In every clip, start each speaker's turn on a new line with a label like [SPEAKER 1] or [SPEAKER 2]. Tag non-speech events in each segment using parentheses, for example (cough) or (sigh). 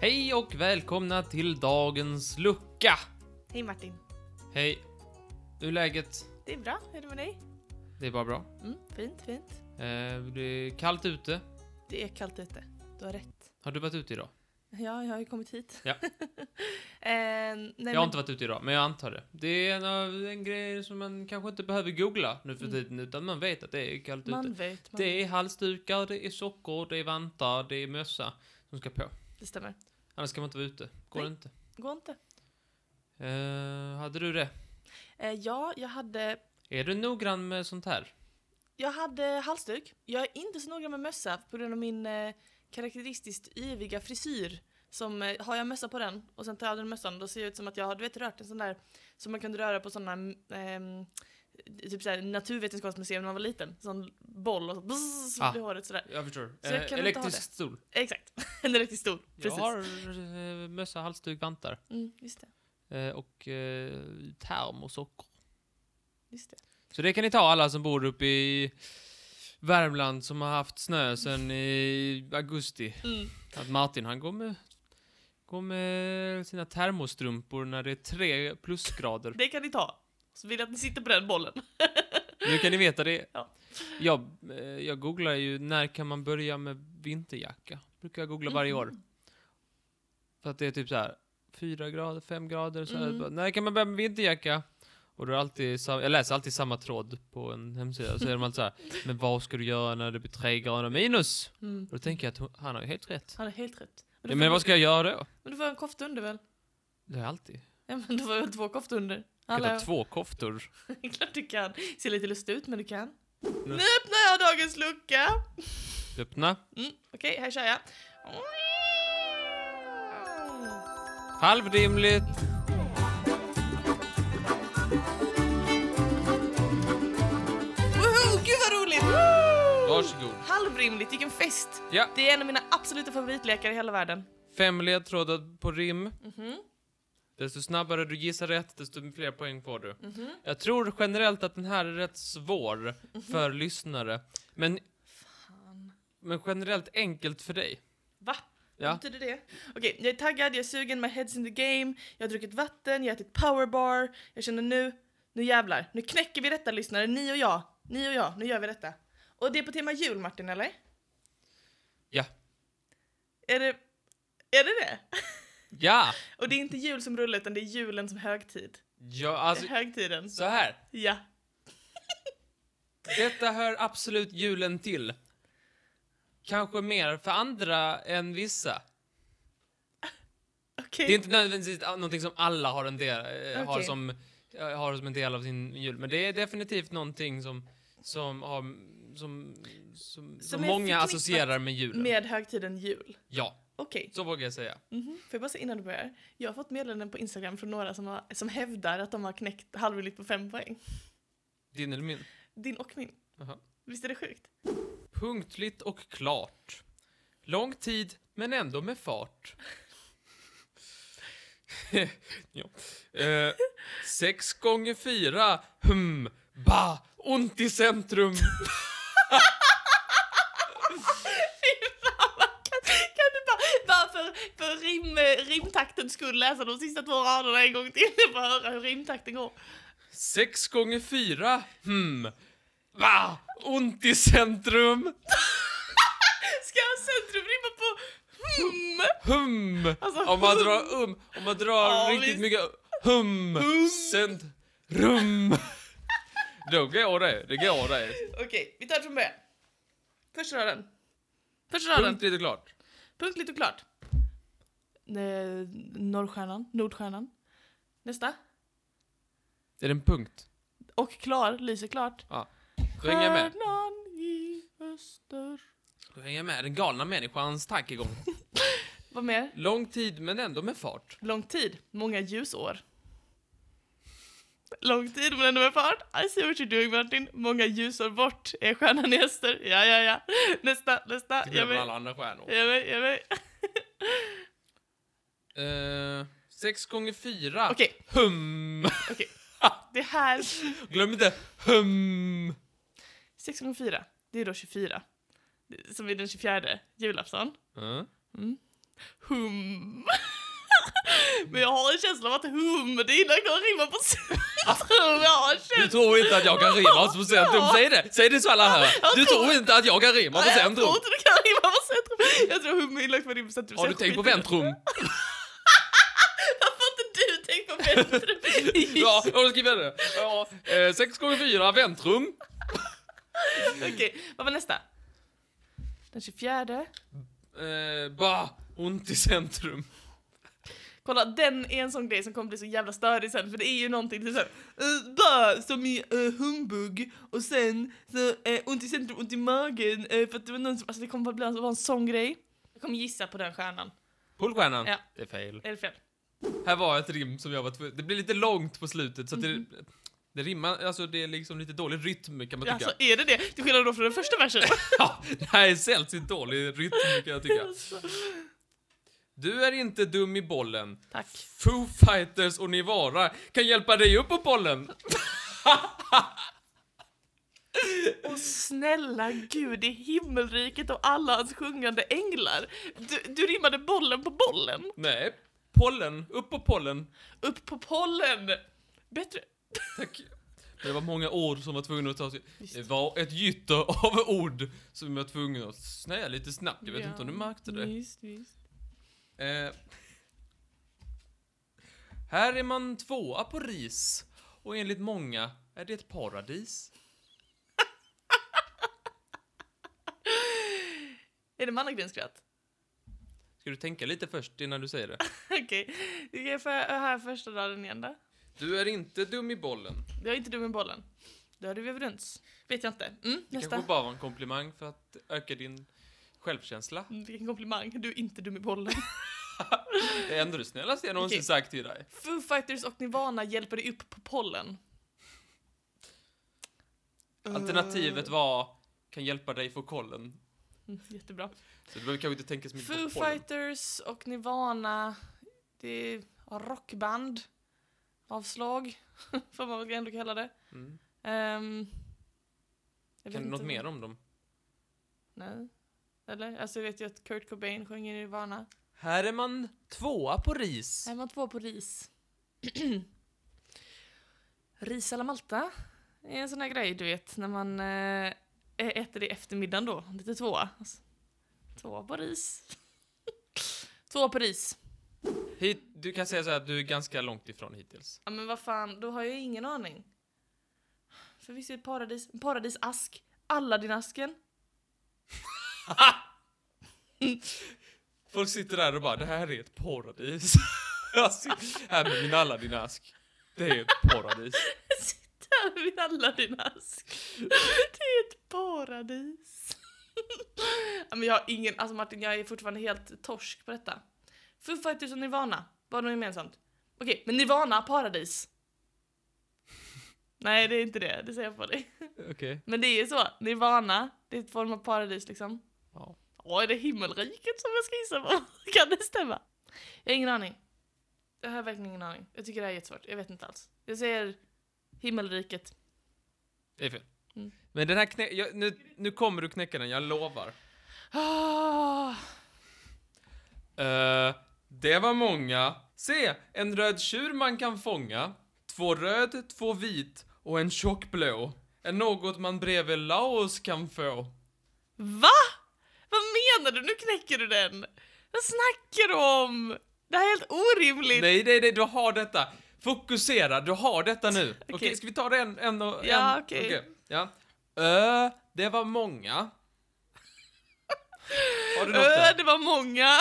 [SPEAKER 1] Hej och välkomna till dagens lucka.
[SPEAKER 2] Hej Martin.
[SPEAKER 1] Hej. Hur är läget?
[SPEAKER 2] Det är bra, hur är det med dig?
[SPEAKER 1] Det är bara bra.
[SPEAKER 2] Mm, fint, fint.
[SPEAKER 1] Eh, det är kallt ute.
[SPEAKER 2] Det är kallt ute. Du har rätt.
[SPEAKER 1] Har du varit ute idag?
[SPEAKER 2] Ja, jag har ju kommit hit. (laughs)
[SPEAKER 1] Ja.
[SPEAKER 2] eh, nej,
[SPEAKER 1] jag har
[SPEAKER 2] men-
[SPEAKER 1] inte varit ute idag, men jag antar det. Det är en, av- en grej som man kanske inte behöver googla nu för
[SPEAKER 2] Mm.
[SPEAKER 1] tiden, utan man vet att det är kallt
[SPEAKER 2] Man
[SPEAKER 1] ute.
[SPEAKER 2] vet, man det...
[SPEAKER 1] Det är halsdukar, det är sockor, det är vantar, det är mössa som ska på.
[SPEAKER 2] det stämmer.
[SPEAKER 1] Annars kan man inte vara ute. Går
[SPEAKER 2] Nej.
[SPEAKER 1] inte.
[SPEAKER 2] Gå inte.
[SPEAKER 1] Eh, hade du det?
[SPEAKER 2] Eh, ja, jag hade,
[SPEAKER 1] Är du noggrann med sånt här?
[SPEAKER 2] jag hade halsduk. Jag är inte så noga med mössa på grund av min eh, karaktäristiskt yviga frisyr. Som, eh, har jag mössa på den och sen tar jag av den mössan då ser jag ut som att jag har du vet, rört en sån där som man kunde röra på såna ehm, typ såhär naturvetenskapsmuseum när man var liten. Sån boll och så bzzz,
[SPEAKER 1] Ah.
[SPEAKER 2] blir håret sådär.
[SPEAKER 1] Jag förstår. Eh,
[SPEAKER 2] Så jag kan inte ha
[SPEAKER 1] elektrisk stol.
[SPEAKER 2] Exakt, (laughs) en riktigt stor.
[SPEAKER 1] Jag
[SPEAKER 2] Precis.
[SPEAKER 1] har eh, mössa, halsduk, vantar.
[SPEAKER 2] Mm, just det.
[SPEAKER 1] Eh, och eh, termosockor.
[SPEAKER 2] Just det.
[SPEAKER 1] Så det kan ni ta alla som bor uppe i Värmland som har haft snö sedan i augusti.
[SPEAKER 2] Mm.
[SPEAKER 1] Att Martin han går med, går med sina termostrumpor när det är tre plusgrader.
[SPEAKER 2] det kan ni ta. Så vill jag att ni sitter på den bollen.
[SPEAKER 1] Nu kan ni veta det.
[SPEAKER 2] Ja.
[SPEAKER 1] Jag, eh, jag googlar ju när kan man börja med vinterjacka. Brukar jag googla
[SPEAKER 2] Mhm.
[SPEAKER 1] varje
[SPEAKER 2] Mm.
[SPEAKER 1] år. För att det är typ så här 4 grader, 5 grader. Så här.
[SPEAKER 2] Mm.
[SPEAKER 1] Bara, När kan man börja med vinterjacka? Och då är det alltid sam- jag läser alltid samma tråd på en hemsida. Så är de alltid så
[SPEAKER 2] (laughs)
[SPEAKER 1] här, men vad ska du göra när det blir 3 grader minus?
[SPEAKER 2] Mm.
[SPEAKER 1] Och då tänker jag att hon, han har ju helt rätt.
[SPEAKER 2] Han är helt rätt. Men
[SPEAKER 1] Ja,
[SPEAKER 2] du,
[SPEAKER 1] men
[SPEAKER 2] får,
[SPEAKER 1] vad ska jag göra då?
[SPEAKER 2] men du får ha en kofta under väl? (laughs)
[SPEAKER 1] Det är alltid.
[SPEAKER 2] Ja men du får väl två koftor under?
[SPEAKER 1] Jag
[SPEAKER 2] Alla-
[SPEAKER 1] kan ta två koftor.
[SPEAKER 2] (laughs) Klart du kan. Ser lite lustig ut men du kan.
[SPEAKER 1] Mm.
[SPEAKER 2] Nu
[SPEAKER 1] Nej.
[SPEAKER 2] öppnar jag dagens lucka!
[SPEAKER 1] Öppna.
[SPEAKER 2] Mm, Okej, här kör jag.
[SPEAKER 1] Halvrimligt.
[SPEAKER 2] Woho! Gud vad roligt! Woo!
[SPEAKER 1] Varsågod.
[SPEAKER 2] Halvrimligt, vilken fest!
[SPEAKER 1] Ja.
[SPEAKER 2] Det är en av mina absoluta favoritlekar i hela världen.
[SPEAKER 1] Fem ledtrådar på rim.
[SPEAKER 2] Mhm,
[SPEAKER 1] Desto snabbare du gissar rätt, desto fler poäng får du.
[SPEAKER 2] mhm.
[SPEAKER 1] Jag tror generellt att den här är rätt svår för lyssnare. Men,
[SPEAKER 2] Fan.
[SPEAKER 1] men generellt enkelt för dig.
[SPEAKER 2] Va? Vad
[SPEAKER 1] Ja.
[SPEAKER 2] betyder det? Okej, jag är taggad, jag är sugen, my head's in the game, jag har druckit vatten, jag har ätit powerbar, jag känner nu, nu jävlar, nu knäcker vi detta lyssnare, ni och jag, ni och jag, nu gör vi detta. Och det är på tema jul Martin, eller?
[SPEAKER 1] Ja.
[SPEAKER 2] Är det, är det det?
[SPEAKER 1] Ja!
[SPEAKER 2] Och det är inte jul som rullar utan det är julen som högtid.
[SPEAKER 1] Ja, alltså
[SPEAKER 2] Högtiden.
[SPEAKER 1] så här.
[SPEAKER 2] Ja.
[SPEAKER 1] Detta hör absolut julen till. Kanske mer för andra än vissa.
[SPEAKER 2] Okej.
[SPEAKER 1] Det är inte nödvändigtvis någonting som alla har, en del, eh, har,
[SPEAKER 2] Okej.
[SPEAKER 1] som, eh, har som en del av sin jul, men det är definitivt någonting som, som, har, som, som, som
[SPEAKER 2] är
[SPEAKER 1] många
[SPEAKER 2] förknippat
[SPEAKER 1] associerar med julen.
[SPEAKER 2] Med högtiden jul.
[SPEAKER 1] Ja,
[SPEAKER 2] Okej.
[SPEAKER 1] så vågar jag säga.
[SPEAKER 2] Mhm. Får jag bara säga innan du börjar? Jag har fått meddelanden på Instagram från några som, har, som hävdar att de har knäckt halvrimligt på fem poäng.
[SPEAKER 1] Din eller min?
[SPEAKER 2] Din och min.
[SPEAKER 1] Jaha.
[SPEAKER 2] Visst är det sjukt? (laughs)
[SPEAKER 1] Punktligt och klart. Lång tid, men ändå med fart. (laughs) ja. eh, sex gånger fyra, hm, ba, ont i centrum.
[SPEAKER 2] Fy fan, vad kan, kan du bara, bara för, för rim, rimtakten skulle läsa de sista två raderna en gång till och bara höra hur rimtakten går.
[SPEAKER 1] Sex gånger fyra, hm, ba, ont i centrum,
[SPEAKER 2] Ska jag ha centrum rimma på hmm?
[SPEAKER 1] hum.
[SPEAKER 2] Alltså,
[SPEAKER 1] Om man
[SPEAKER 2] hum.
[SPEAKER 1] drar um, om man drar
[SPEAKER 2] Ja,
[SPEAKER 1] riktigt
[SPEAKER 2] visst.
[SPEAKER 1] mycket hum, centrum. (laughs) Då går det, det går det.
[SPEAKER 2] Okej, vi tar det från början. Första raden. Första raden.
[SPEAKER 1] Punktligt och klart.
[SPEAKER 2] Punktligt och klart. Eh, Norrstjärnan, Nordstjärnan. Nästa.
[SPEAKER 1] Är det en punkt?
[SPEAKER 2] Och klar, lyser klart.
[SPEAKER 1] Du hänger med.
[SPEAKER 2] Stjärnan i öster.
[SPEAKER 1] Du hänger med. Den galna människans tankegång.
[SPEAKER 2] Vad mer?
[SPEAKER 1] Lång tid men ändå med fart.
[SPEAKER 2] Lång tid, många ljusår. Lång tid men ändå med fart. I see what you're doing Martin. Många ljusår bort är stjärnan i öster. Ja, ja, ja. Nästa, nästa. Jag
[SPEAKER 1] Glömmer alla
[SPEAKER 2] med.
[SPEAKER 1] andra stjärnor.
[SPEAKER 2] Jag med, jag med.
[SPEAKER 1] Eh, sex gånger fyra.
[SPEAKER 2] Okej,
[SPEAKER 1] Hum. (laughs)
[SPEAKER 2] det här.
[SPEAKER 1] Glöm inte hum.
[SPEAKER 2] 6 gånger 4, det är då 24. Som är den 24, julafton.
[SPEAKER 1] Uh.
[SPEAKER 2] Hum. (laughs) Men jag har en känsla av att hum, det är innan jag rimmar på s- Jag tror jag har en
[SPEAKER 1] Ah. Du
[SPEAKER 2] känsla.
[SPEAKER 1] tror inte att jag kan rima på centrum? Säg det! Säg det så alla hör! Du tror inte att jag kan rima på
[SPEAKER 2] Nej, Jag
[SPEAKER 1] centrum?
[SPEAKER 2] tror inte du kan rimma på centrum. Jag tror hum är inlagt på rim på centrum.
[SPEAKER 1] Har
[SPEAKER 2] så
[SPEAKER 1] du
[SPEAKER 2] jag
[SPEAKER 1] tänkt på
[SPEAKER 2] skiter i det. (laughs)
[SPEAKER 1] väntrum?
[SPEAKER 2] Varför har inte du tänkt på väntrum?
[SPEAKER 1] Ja, jag har skrivit det. Ja, eh, sex gånger fyra, väntrum.
[SPEAKER 2] Okej, vad var nästa? Den 24.
[SPEAKER 1] Eh, bah, ont i centrum.
[SPEAKER 2] Kolla, den är en sån grej som kommer bli så jävla störig sen för det är ju någonting till såhär uh, bö, som i eh, humbug och sen så eh, ont i centrum, ont i magen eh, för att det var någon som, alltså det kommer bara bli en, vara en sån grej. Jag kommer gissa på den stjärnan.
[SPEAKER 1] Polstjärnan.
[SPEAKER 2] Ja.
[SPEAKER 1] Det är fel.
[SPEAKER 2] Är det fel?
[SPEAKER 1] Här var ett rim som jag var tvungen... Det blir lite långt på slutet så att det...
[SPEAKER 2] Mhm.
[SPEAKER 1] Det rimmar, alltså det är liksom lite dålig rytm kan man tycka.
[SPEAKER 2] Alltså är det det? Till skillnad då från den första versen.
[SPEAKER 1] (laughs) Ja, det här är sällsynt dålig rytm kan jag tycka.
[SPEAKER 2] Alltså.
[SPEAKER 1] Du är inte dum i bollen.
[SPEAKER 2] Tack.
[SPEAKER 1] Foo Fighters och Nivara kan hjälpa dig upp på bollen.
[SPEAKER 2] Och snälla gud i himmelriket och alla hans sjungande änglar. Du, du rimmade bollen på bollen.
[SPEAKER 1] Nej, pollen. Upp på pollen.
[SPEAKER 2] Upp på pollen. Bättre.
[SPEAKER 1] Tack. Det var många ord som var tvungna att ta sig.
[SPEAKER 2] Visst.
[SPEAKER 1] Det var ett gytter av ord som var tvungna att snäja lite snabbt. Jag vet
[SPEAKER 2] Ja,
[SPEAKER 1] inte om du märkte det.
[SPEAKER 2] Visst, visst.
[SPEAKER 1] Eh, här är man tvåa på ris och enligt många är det ett paradis.
[SPEAKER 2] Är det Mannergrens skratt?
[SPEAKER 1] Ska du tänka lite först innan du säger det?
[SPEAKER 2] (laughs) Okej, vi ska höra första raden igen då.
[SPEAKER 1] Du är inte dum i bollen.
[SPEAKER 2] Det var inte du med bollen. Då är vi överens. Vet jag inte. Mm,
[SPEAKER 1] Det
[SPEAKER 2] nästa.
[SPEAKER 1] kanske bara var en komplimang för att öka din självkänsla.
[SPEAKER 2] Mm, Vilken komplimang. Du är inte du med bollen. (laughs)
[SPEAKER 1] Det är ändå det snällaste jag någonsin
[SPEAKER 2] Okej.
[SPEAKER 1] sagt till dig.
[SPEAKER 2] Foo Fighters och Nirvana hjälper dig upp på pollen. Eh.
[SPEAKER 1] Alternativet var kan hjälpa dig få kollen.
[SPEAKER 2] Mm, jättebra.
[SPEAKER 1] Så du behöver kanske inte tänka så mycket
[SPEAKER 2] Foo
[SPEAKER 1] på pollen.
[SPEAKER 2] Fighters och Nirvana. Det är ja, rockband. Avslag. (laughs) Får man väl ändå kalla det.
[SPEAKER 1] Mm.
[SPEAKER 2] Ehm, jag
[SPEAKER 1] Kan
[SPEAKER 2] vet
[SPEAKER 1] du något
[SPEAKER 2] inte.
[SPEAKER 1] mer om dem?
[SPEAKER 2] Nej. Eller? Alltså jag vet ju att Kurt Cobain sjunger i Nirvana.
[SPEAKER 1] Här är man tvåa på ris.
[SPEAKER 2] Här var två på ris. (clears throat) ris eller Malta är en sån här grej du vet när man eh, äter det i eftermiddagen då. Lite tvåa. Alltså, två på ris. (laughs) två på ris.
[SPEAKER 1] Hit, du kan säga så här att du är ganska långt ifrån hittills.
[SPEAKER 2] Ja men vad fan, då har jag ingen aning. För visst är det paradis, paradisask, Aladdin-asken.
[SPEAKER 1] Folk sitter där och bara, det här är ett paradis. (laughs) Jag sitter här med min alla din ask. Det är ett
[SPEAKER 2] (laughs)
[SPEAKER 1] paradis.
[SPEAKER 2] Sitter vid Aladdin-ask. Det är ett paradis. (laughs) Ja, men jag har ingen, alltså Martin jag är fortfarande helt torsk på detta. Foo Fighters och Nirvana, vad har de gemensamt? Okej, men Nirvana, paradis. Nej det är inte det, det säger jag på dig.
[SPEAKER 1] Okej.
[SPEAKER 2] Men det är ju så, Nirvana, det är ett form av paradis liksom.
[SPEAKER 1] Ja.
[SPEAKER 2] Åh, är det himmelriket som jag ska gissa på? (laughs) Kan det stämma? Jag har ingen aning. Jag har verkligen ingen aning. Jag tycker det här är jättesvårt, jag vet inte alls. Jag säger himmelriket.
[SPEAKER 1] Det är fel.
[SPEAKER 2] Mm.
[SPEAKER 1] Men den här knä, jag, nu, nu kommer du knäcka den, jag lovar.
[SPEAKER 2] Ah,
[SPEAKER 1] Eh, det var många. Se, en röd tjur man kan fånga. Två röd, två vit och en tjock blå. Är något man bredvid Laos kan få.
[SPEAKER 2] va? Vad menar du? Nu knäcker du den! Vad snackar du om? Det här är helt orimligt!
[SPEAKER 1] Nej, nej, nej, du har detta. Fokusera, du har detta nu. Okej,
[SPEAKER 2] Okej.
[SPEAKER 1] ska vi ta det en, en och en?
[SPEAKER 2] Ja, okej.
[SPEAKER 1] Ja. Ö, det var många. Har du något
[SPEAKER 2] Ö,
[SPEAKER 1] där?
[SPEAKER 2] det var många!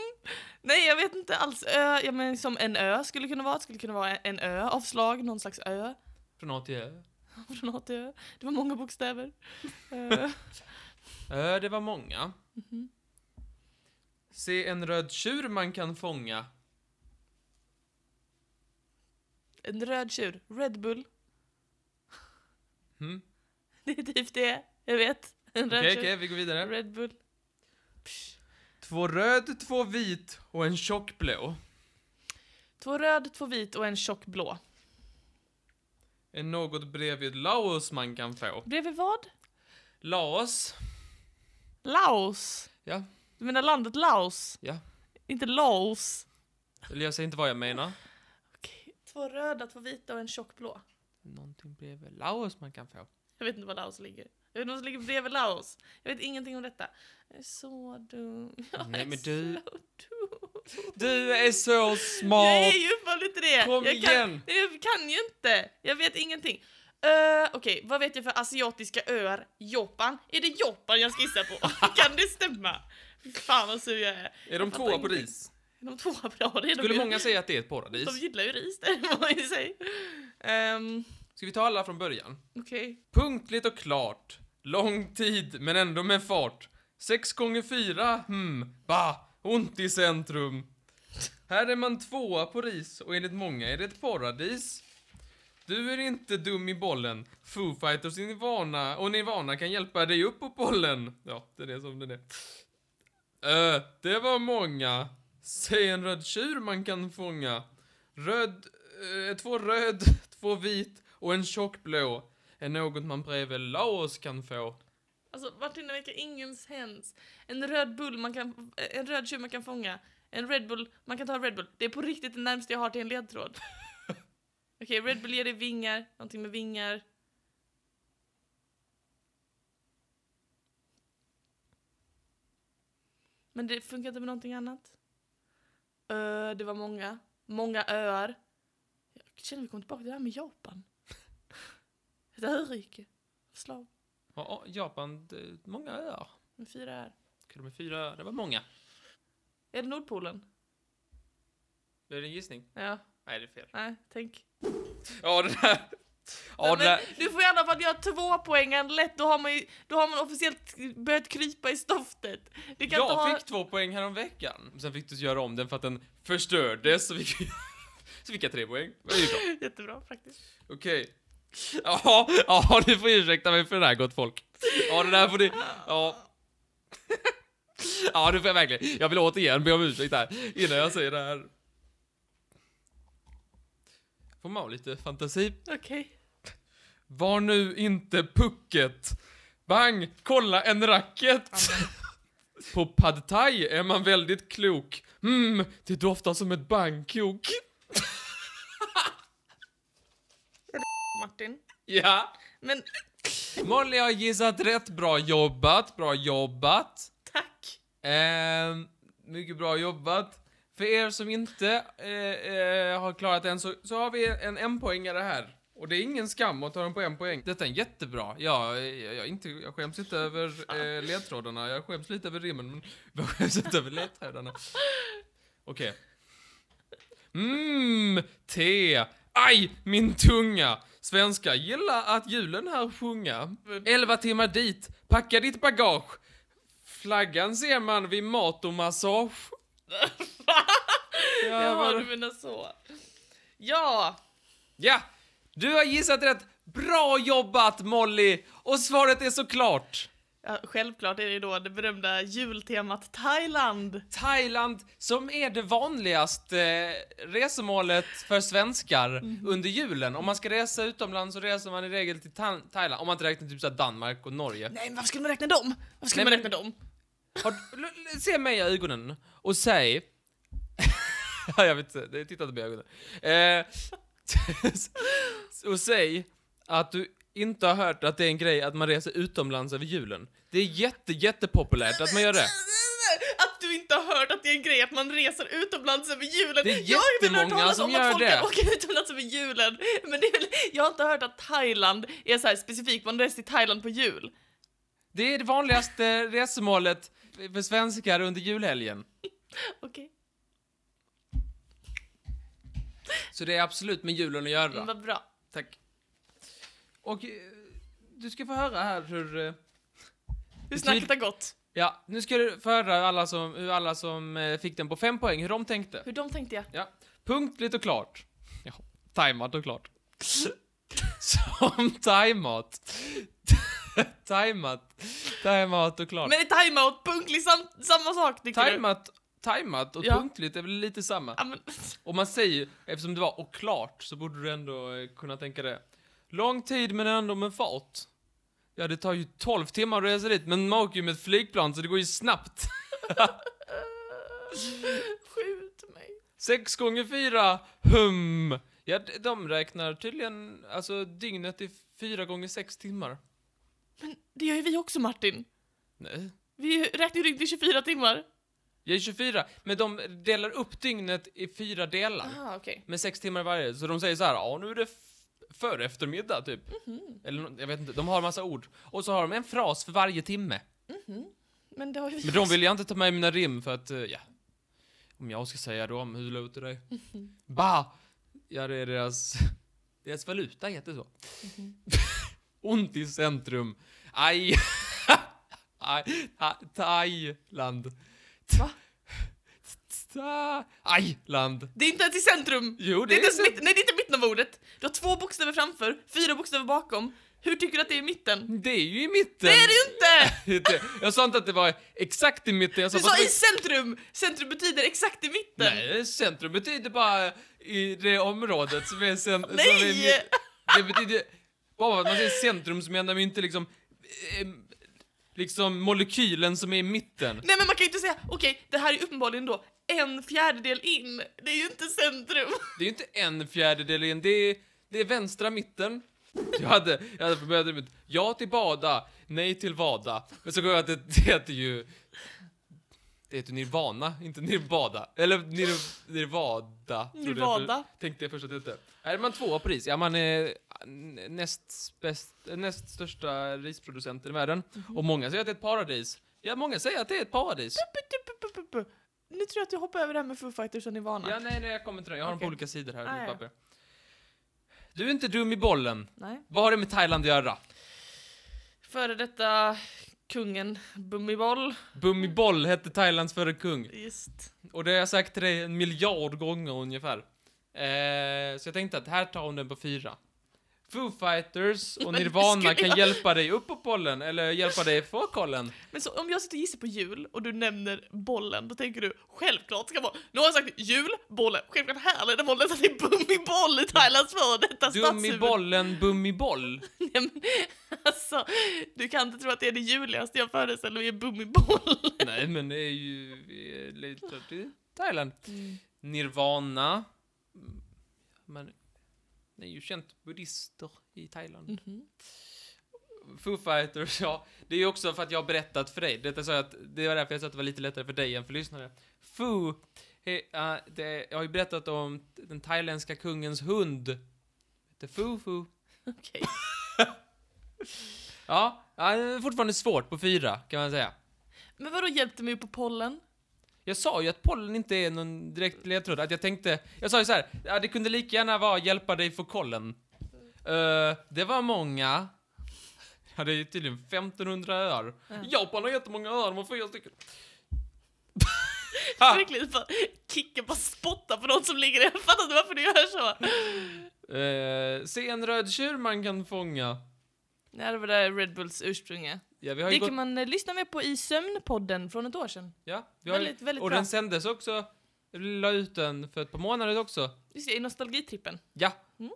[SPEAKER 2] (laughs) Nej, jag vet inte alls. Ö, ja, men som en ö skulle kunna vara. Det skulle kunna vara en ö, avslag, någon slags ö.
[SPEAKER 1] Från A till Ö.
[SPEAKER 2] Från A till Ö. Det var många bokstäver. Eh, Ö.
[SPEAKER 1] Ö, det var många.
[SPEAKER 2] Mhm.
[SPEAKER 1] Se en röd tjur man kan fånga.
[SPEAKER 2] En röd tjur. Red Bull.
[SPEAKER 1] Mm.
[SPEAKER 2] (laughs) Det är typ det jag vet. En
[SPEAKER 1] Okej,
[SPEAKER 2] röd
[SPEAKER 1] okej,
[SPEAKER 2] tjur.
[SPEAKER 1] vi går vidare.
[SPEAKER 2] Red Bull. Psh.
[SPEAKER 1] Två röd, två vit och en tjock blå.
[SPEAKER 2] Två röd, två vit och en tjock blå.
[SPEAKER 1] Är något bredvid Laos man kan få.
[SPEAKER 2] Bredvid vad?
[SPEAKER 1] Laos.
[SPEAKER 2] Laos.
[SPEAKER 1] Ja.
[SPEAKER 2] Du menar landet Laos?
[SPEAKER 1] Ja.
[SPEAKER 2] Inte Laos.
[SPEAKER 1] Eller jag säger inte vad jag menar.
[SPEAKER 2] Okej. Två röda, två vita och en tjock blå.
[SPEAKER 1] Någonting bredvid Laos man kan få.
[SPEAKER 2] Jag vet inte var Laos ligger. Jag vet inte vad som ligger bredvid Laos. Jag vet ingenting om detta. Jag är så dum. (laughs) Jag
[SPEAKER 1] Nej,
[SPEAKER 2] är
[SPEAKER 1] men du-
[SPEAKER 2] så dum.
[SPEAKER 1] Du är så
[SPEAKER 2] Jag
[SPEAKER 1] smart!
[SPEAKER 2] är ju uppenbarligen inte det.
[SPEAKER 1] Kom
[SPEAKER 2] jag kan,
[SPEAKER 1] igen!
[SPEAKER 2] Nej, Jag kan ju inte. Jag vet ingenting. Uh, Okej, vad vet jag för asiatiska öar? Japan? Är det Japan jag ska
[SPEAKER 1] (laughs)
[SPEAKER 2] gissa på? kan det stämma? Fy fan vad sur jag är.
[SPEAKER 1] Är de
[SPEAKER 2] fattar
[SPEAKER 1] tvåa på
[SPEAKER 2] ingenting.
[SPEAKER 1] ris?
[SPEAKER 2] Är de tvåa bra? Det är de
[SPEAKER 1] Skulle
[SPEAKER 2] ju.
[SPEAKER 1] många säga att det är ett
[SPEAKER 2] De
[SPEAKER 1] paradis?
[SPEAKER 2] gillar ju ris, det får man ju säga. Ehm,
[SPEAKER 1] Ska vi ta alla från början?
[SPEAKER 2] Okej.
[SPEAKER 1] Punktligt och klart. Lång tid, men ändå med fart. Sex gånger fyra, hmm, bah, ont i centrum. Här är man tvåa på ris och enligt många är det ett paradis. Du är inte dum i bollen. Foo Fighters och Nirvana, och Nirvana kan hjälpa dig upp på bollen. Ja, det är det som den är. Äh, det var många. Säg en röd tjur man kan fånga. Röd, eh, två röd, (laughs) två vit och en tjock blå är något man bredvid Laos kan få.
[SPEAKER 2] Alltså Martina verkar ingen sens. En röd bull man kan, en röd tjur man kan fånga. En Red Bull, man kan ta en Red Bull. Det är på riktigt det närmaste jag har till en ledtråd. Okej, Red Bull ger dig vingar, någonting med vingar. Men det funkar inte med någonting annat. Ö, det var många. Många öar. Jag känner att vi kommer tillbaka till det här med Japan. (laughs) Ett örike. Slag.
[SPEAKER 1] Ja, ja, Japan, det, många öar.
[SPEAKER 2] Med fyra öar.
[SPEAKER 1] Kunde med fyra öar, det var många.
[SPEAKER 2] Är det Nordpolen?
[SPEAKER 1] Är det en gissning?
[SPEAKER 2] Ja,
[SPEAKER 1] Nej, det är fel.
[SPEAKER 2] nej, tänk.
[SPEAKER 1] Ja, det
[SPEAKER 2] (laughs)
[SPEAKER 1] där. Ja, det
[SPEAKER 2] men,
[SPEAKER 1] där.
[SPEAKER 2] du får i alla fall göra två poängen lätt, då har man ju, då har man officiellt börjat krypa i stoftet. Du kan inte
[SPEAKER 1] Jag
[SPEAKER 2] ha...
[SPEAKER 1] fick två poäng häromveckan. Sen fick du göra om den för att den förstördes, så fick, (laughs) så fick jag tre poäng. Det är ju bra.
[SPEAKER 2] Jättebra faktiskt.
[SPEAKER 1] Okej. Ja, ja, ni får ursäkta mig för det här gott folk. Ja, det där får ni... Ja. Ja, du får jag verkligen. Jag vill återigen be om ursäkt här innan jag säger det här. Får man ha lite fantasi?
[SPEAKER 2] Okej.
[SPEAKER 1] Var nu inte pucket. Bang! Kolla en racket! På pad thai är man väldigt klok. Mm, det doftar som ett Bangkok.
[SPEAKER 2] Martin.
[SPEAKER 1] Ja.
[SPEAKER 2] Men
[SPEAKER 1] Molly har gissat rätt. Bra jobbat, bra jobbat.
[SPEAKER 2] tack.
[SPEAKER 1] Ehm, mycket bra jobbat. För er som inte eh, eh, har klarat den så, så har vi en enpoängare här. Och det är ingen skam att ta den på en poäng. Detta är en jättebra. Ja, eh, jag, jag, inte, jag skäms inte över eh, ledtrådarna. Jag skäms lite över rimmen, men (laughs) jag skäms inte över ledtrådarna. Okej. Mm, te. Aj, min tunga. Svenska gillar att julen här sjunga. Elva timmar dit. Packa ditt bagage. Flaggan ser man vid mat och massage.
[SPEAKER 2] Jag har
[SPEAKER 1] Jävlar.
[SPEAKER 2] du menar så. Ja,
[SPEAKER 1] Ja, du har gissat rätt. Bra jobbat Molly! Och svaret är såklart
[SPEAKER 2] ja självklart är det ju då det berömda jultemat Thailand.
[SPEAKER 1] Thailand som är det vanligaste eh, resemålet för svenskar under julen. Om man ska resa utomlands så reser man i regel till Tha- Thailand. Om man inte räknar typ så här Danmark och Norge.
[SPEAKER 2] Nej, men varför skulle man räkna dem? Varför skulle
[SPEAKER 1] Nej,
[SPEAKER 2] man
[SPEAKER 1] men-
[SPEAKER 2] räkna dem?
[SPEAKER 1] Har, l- l- se mig i ögonen och säg... (laughs) Ja, jag vet inte, titta inte på ögonen. Eh, (laughs) och säg att du inte har hört att det är en grej att man reser utomlands över julen. Det är jätte, jättepopulärt att man gör det.
[SPEAKER 2] Att du inte har hört att det är en grej att man reser utomlands över julen.
[SPEAKER 1] Det är
[SPEAKER 2] jag har väl hört
[SPEAKER 1] jättemånga
[SPEAKER 2] talas
[SPEAKER 1] som
[SPEAKER 2] om
[SPEAKER 1] gör
[SPEAKER 2] att folk
[SPEAKER 1] det.
[SPEAKER 2] kan åka utomlands över julen. Men det är väl, jag har inte hört att Thailand är så här specifikt, man reser till Thailand på jul.
[SPEAKER 1] Det är det vanligaste resemålet för svenskar under julhelgen.
[SPEAKER 2] Okej,
[SPEAKER 1] Så det är absolut med julen att
[SPEAKER 2] mm,
[SPEAKER 1] göra.
[SPEAKER 2] vad bra.
[SPEAKER 1] Tack. Och eh, du ska få höra här hur... eh,
[SPEAKER 2] Hur
[SPEAKER 1] Betyd-
[SPEAKER 2] snacket har gått.
[SPEAKER 1] Ja, nu ska du få höra alla som, hur alla som eh, fick den på fem poäng, hur de tänkte.
[SPEAKER 2] Hur de tänkte jag.
[SPEAKER 1] Punktligt och klart. Ja. Thaimat och klart. (laughs) Som (laughs) thaimat. thaimat. Thaimat och klart.
[SPEAKER 2] Men är timeout punktlig sam- samma sak tycker du?
[SPEAKER 1] Thaimat, thaimat och
[SPEAKER 2] Ja.
[SPEAKER 1] punktligt är väl lite samma.
[SPEAKER 2] Ja, men, (laughs)
[SPEAKER 1] Och man säger ju, eftersom det var och klart, så borde du ändå eh, kunna tänka det. Lång tid men ändå med fart. Ja, det tar ju 12 timmar att resa dit, men man åker ju med ett flygplan så det går ju snabbt.
[SPEAKER 2] skjut mig.
[SPEAKER 1] 6 gånger 4, hum. Ja, d- de räknar tydligen, alltså dygnet i 4 gånger 6 timmar.
[SPEAKER 2] Men det gör ju vi också Martin.
[SPEAKER 1] Nej.
[SPEAKER 2] Vi räknar ju rygg i 24 timmar.
[SPEAKER 1] Jag är 24, men de delar upp dygnet i fyra delar.
[SPEAKER 2] Aha, okej.
[SPEAKER 1] Med sex timmar varje, så de säger så här, ja nu är det f- för eftermiddag typ. Eller nå- jag vet inte, de har en massa ord. Och så har de en fras för varje timme.
[SPEAKER 2] Men det har ju vi
[SPEAKER 1] Men de
[SPEAKER 2] också.
[SPEAKER 1] vill jag inte ta med i mina rim för att, eh, ja. Om jag ska säga dem, hur låter
[SPEAKER 2] (laughs)
[SPEAKER 1] det? Bah! Ja, det är deras, (laughs) deras valuta heter så.
[SPEAKER 2] Mhm.
[SPEAKER 1] (laughs) Ont i centrum. Aj! (laughs) Aj. Ta- Thailand.
[SPEAKER 2] Va?
[SPEAKER 1] (laughs) Ta- Thailand.
[SPEAKER 2] Det är inte ens i centrum.
[SPEAKER 1] Jo, det,
[SPEAKER 2] Det är
[SPEAKER 1] är
[SPEAKER 2] inte mitt, nej, det är inte mitten av ordet. Du har två bokstäver framför, fyra bokstäver bakom. Hur tycker du att det är i mitten?
[SPEAKER 1] Det är ju i mitten!
[SPEAKER 2] Det är det ju inte!
[SPEAKER 1] Inte- (laughs) jag sa inte att det var exakt i mitten, jag sa
[SPEAKER 2] Du
[SPEAKER 1] bara...
[SPEAKER 2] sa i centrum! Centrum betyder exakt i mitten.
[SPEAKER 1] Nej, centrum betyder bara i det området som är cent- som är
[SPEAKER 2] Nej! Alltså,
[SPEAKER 1] mitt- Det betyder... Bara för att man säger centrum så menar man ju inte liksom... eh, Liksom molekylen som är i mitten.
[SPEAKER 2] Nej men man kan ju inte säga, okej det här är uppenbarligen då en fjärdedel in. Det är ju inte centrum.
[SPEAKER 1] Det är ju inte en fjärdedel in, det är, det är vänstra mitten. Jag hade, jag hade börjat med ja till bada, nej till vada. Men så går jag till, det heter ju... Det heter nirvana, inte nirvada. Eller nir, nirvada. trodde jag för-
[SPEAKER 2] Nirvada.
[SPEAKER 1] Tänkte jag först att det hette. Här Är man tvåa på ris? Ja, man är n- näst, bäst, näst största risproducenten i världen. Och många säger att det är ett paradis. Ja, många säger att det är ett paradis.
[SPEAKER 2] Nu tror jag att du hoppar över det här med Foo Fighters och Nirvana.
[SPEAKER 1] Ja, nej, nej, jag kommer till det. Jag har dem på
[SPEAKER 2] Okej.
[SPEAKER 1] olika sidor här. i
[SPEAKER 2] Ah,
[SPEAKER 1] mitt
[SPEAKER 2] ja.
[SPEAKER 1] papper. Du är inte dum i bollen.
[SPEAKER 2] Nej.
[SPEAKER 1] Vad har det med Thailand att göra?
[SPEAKER 2] Före detta kungen Bummiboll.
[SPEAKER 1] Bummiboll hette Thailands förre kung.
[SPEAKER 2] Just.
[SPEAKER 1] Och det har jag sagt till dig en miljard gånger ungefär. Eh, så jag tänkte att här tar hon den på fyra. Foo Fighters och
[SPEAKER 2] Men det
[SPEAKER 1] Nirvana
[SPEAKER 2] skulle
[SPEAKER 1] kan
[SPEAKER 2] jag-
[SPEAKER 1] hjälpa dig upp på bollen, eller hjälpa dig få kollen.
[SPEAKER 2] Men så om jag sitter och gissar på jul och du nämner bollen, då tänker du självklart ska vara... Nu har jag sagt jul, bollen, självklart här är det bollen, så det är Bummiboll i Thailands före detta
[SPEAKER 1] Dum i
[SPEAKER 2] stadshuvud.
[SPEAKER 1] bollen, bummiboll.
[SPEAKER 2] Nej, men, (laughs) alltså, du kan inte tro att det är det juligaste jag föreställer mig är Bummiboll.
[SPEAKER 1] Nej, men det är ju... eh, lite till Thailand. Nirvana. Mm, Men det är ju känt buddister i Thailand.
[SPEAKER 2] Mhm,
[SPEAKER 1] Foo Fighters, ja. Det är ju också för att jag har berättat för dig. Detta sa jag att, det var därför jag sa att det var lite lättare för dig än för lyssnare. Foo, he, eh, det, jag har ju berättat om den thailändska kungens hund. Det Foo Foo.
[SPEAKER 2] Okej.
[SPEAKER 1] Ja, ja, det är fortfarande svårt på fyra, kan man säga.
[SPEAKER 2] Men vadå hjälpte mig upp på pollen?
[SPEAKER 1] Jag sa ju att pollen inte är någon direkt ledtråd, att jag tänkte... Jag sa ju så här, ja, det kunde lika gärna vara hjälpa dig få kollen. Eh, det var många. Ja, det är ju tydligen 1500 öar. Japan har jättemånga öar, de har fyra
[SPEAKER 2] (laughs)
[SPEAKER 1] stycken. Ah.
[SPEAKER 2] Verkligen bara kicka, bara spotta på någon som ligger där. Jag fattar inte varför du gör så.
[SPEAKER 1] Eh, se en röd tjur man kan fånga.
[SPEAKER 2] Nej, det var där Red Bulls ursprunge.
[SPEAKER 1] Ja, vi har ju
[SPEAKER 2] Det
[SPEAKER 1] gått...
[SPEAKER 2] kan man eh, lyssna med på i Sömnpodden från ett år sedan.
[SPEAKER 1] Ja, vi har ju-
[SPEAKER 2] Väldigt, väldigt
[SPEAKER 1] och
[SPEAKER 2] bra.
[SPEAKER 1] den sändes också. Jag la ut den för ett par månader också.
[SPEAKER 2] Just det, i nostalgitrippen.
[SPEAKER 1] Ja.
[SPEAKER 2] Mm.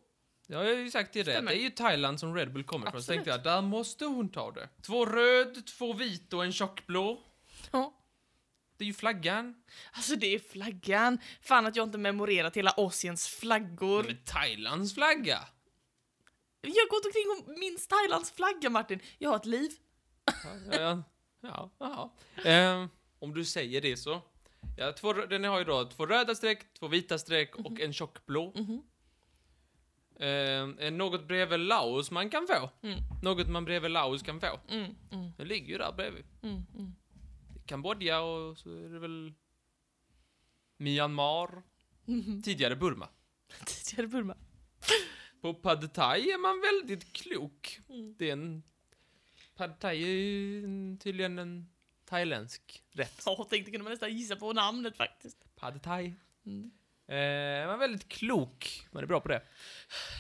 [SPEAKER 1] Det har jag ju sagt till dig.
[SPEAKER 2] Stämmer.
[SPEAKER 1] Det är ju Thailand som Red Bull kommer ifrån. Så
[SPEAKER 2] Absolut.
[SPEAKER 1] tänkte jag, där måste hon ta det. Två röd, två vit och en tjockblå.
[SPEAKER 2] Ja.
[SPEAKER 1] Det är ju flaggan.
[SPEAKER 2] Alltså det är flaggan. Fan att jag inte memorerat hela Asiens flaggor.
[SPEAKER 1] Men Thailands flagga.
[SPEAKER 2] Jag har gått omkring och minns Thailands flagga Martin. Jag har ett liv.
[SPEAKER 1] Ja, ja, ja. ja. Ehm, om du säger det så. Ja, två, rö- den har ju då två röda streck, två vita streck och en tjockblå.
[SPEAKER 2] Mhm.
[SPEAKER 1] Ehm, eh, något bredvid Laos man kan få.
[SPEAKER 2] Mm.
[SPEAKER 1] Något man bredvid Laos kan få.
[SPEAKER 2] Mm, mm,
[SPEAKER 1] Den ligger ju där bredvid.
[SPEAKER 2] mm, mm.
[SPEAKER 1] Kambodja och så är det väl Myanmar.
[SPEAKER 2] Mhm.
[SPEAKER 1] Tidigare Burma.
[SPEAKER 2] (laughs) Tidigare Burma.
[SPEAKER 1] På Pad Thai är man väldigt klok.
[SPEAKER 2] Mm.
[SPEAKER 1] Det är en... Pad Thai är ju en- tydligen en thailändsk rätt.
[SPEAKER 2] Ja, tänkte kunde man nästan gissa på namnet faktiskt.
[SPEAKER 1] Pad Thai.
[SPEAKER 2] Mm.
[SPEAKER 1] Eh, var väldigt klok. Man är bra på det.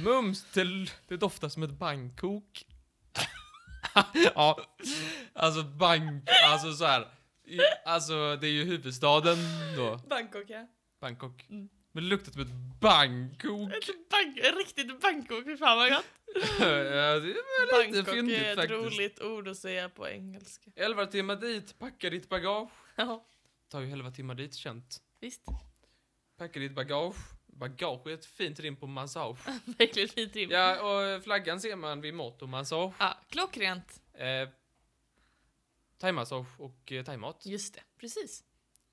[SPEAKER 1] Mums, det, l- det doftar som ett bankok. (laughs) ja, alltså bank, alltså så här. I, alltså det är ju huvudstaden då,
[SPEAKER 2] Bangkok ja.
[SPEAKER 1] Bangkok.
[SPEAKER 2] Mm.
[SPEAKER 1] Men det luktar som ett bankok.
[SPEAKER 2] (laughs) Ett bank, riktigt Bangkok, fy fan
[SPEAKER 1] (laughs)
[SPEAKER 2] vad gott.
[SPEAKER 1] ja, det är lite
[SPEAKER 2] Bangkok
[SPEAKER 1] fyndigt
[SPEAKER 2] är ett
[SPEAKER 1] faktiskt.
[SPEAKER 2] roligt ord att säga på engelska. (laughs)
[SPEAKER 1] 11 timmar dit, packa ditt bagage.
[SPEAKER 2] Ja,
[SPEAKER 1] Tar ju 11 timmar dit känt.
[SPEAKER 2] visst. (laughs)
[SPEAKER 1] Packa ditt bagage. Bagage är ett fint rim på
[SPEAKER 2] (laughs)
[SPEAKER 1] massage.
[SPEAKER 2] Verkligen fint rim.
[SPEAKER 1] Ja, och eh, flaggan ser man vid mat och massage.
[SPEAKER 2] Ja, klockrent.
[SPEAKER 1] Eh, thaimassage och eh, thaimat.
[SPEAKER 2] Just det, precis.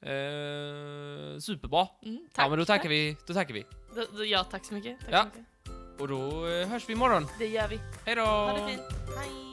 [SPEAKER 1] Eh, superbra.
[SPEAKER 2] Mm, tack.
[SPEAKER 1] ja, men då tackar vi. Då tackar vi.
[SPEAKER 2] Då, då, ja, tack så mycket. Tack
[SPEAKER 1] Ja.
[SPEAKER 2] så mycket.
[SPEAKER 1] Och då eh, hörs vi imorgon.
[SPEAKER 2] Det gör vi.
[SPEAKER 1] Hej då!
[SPEAKER 2] Ha det fint. Hej.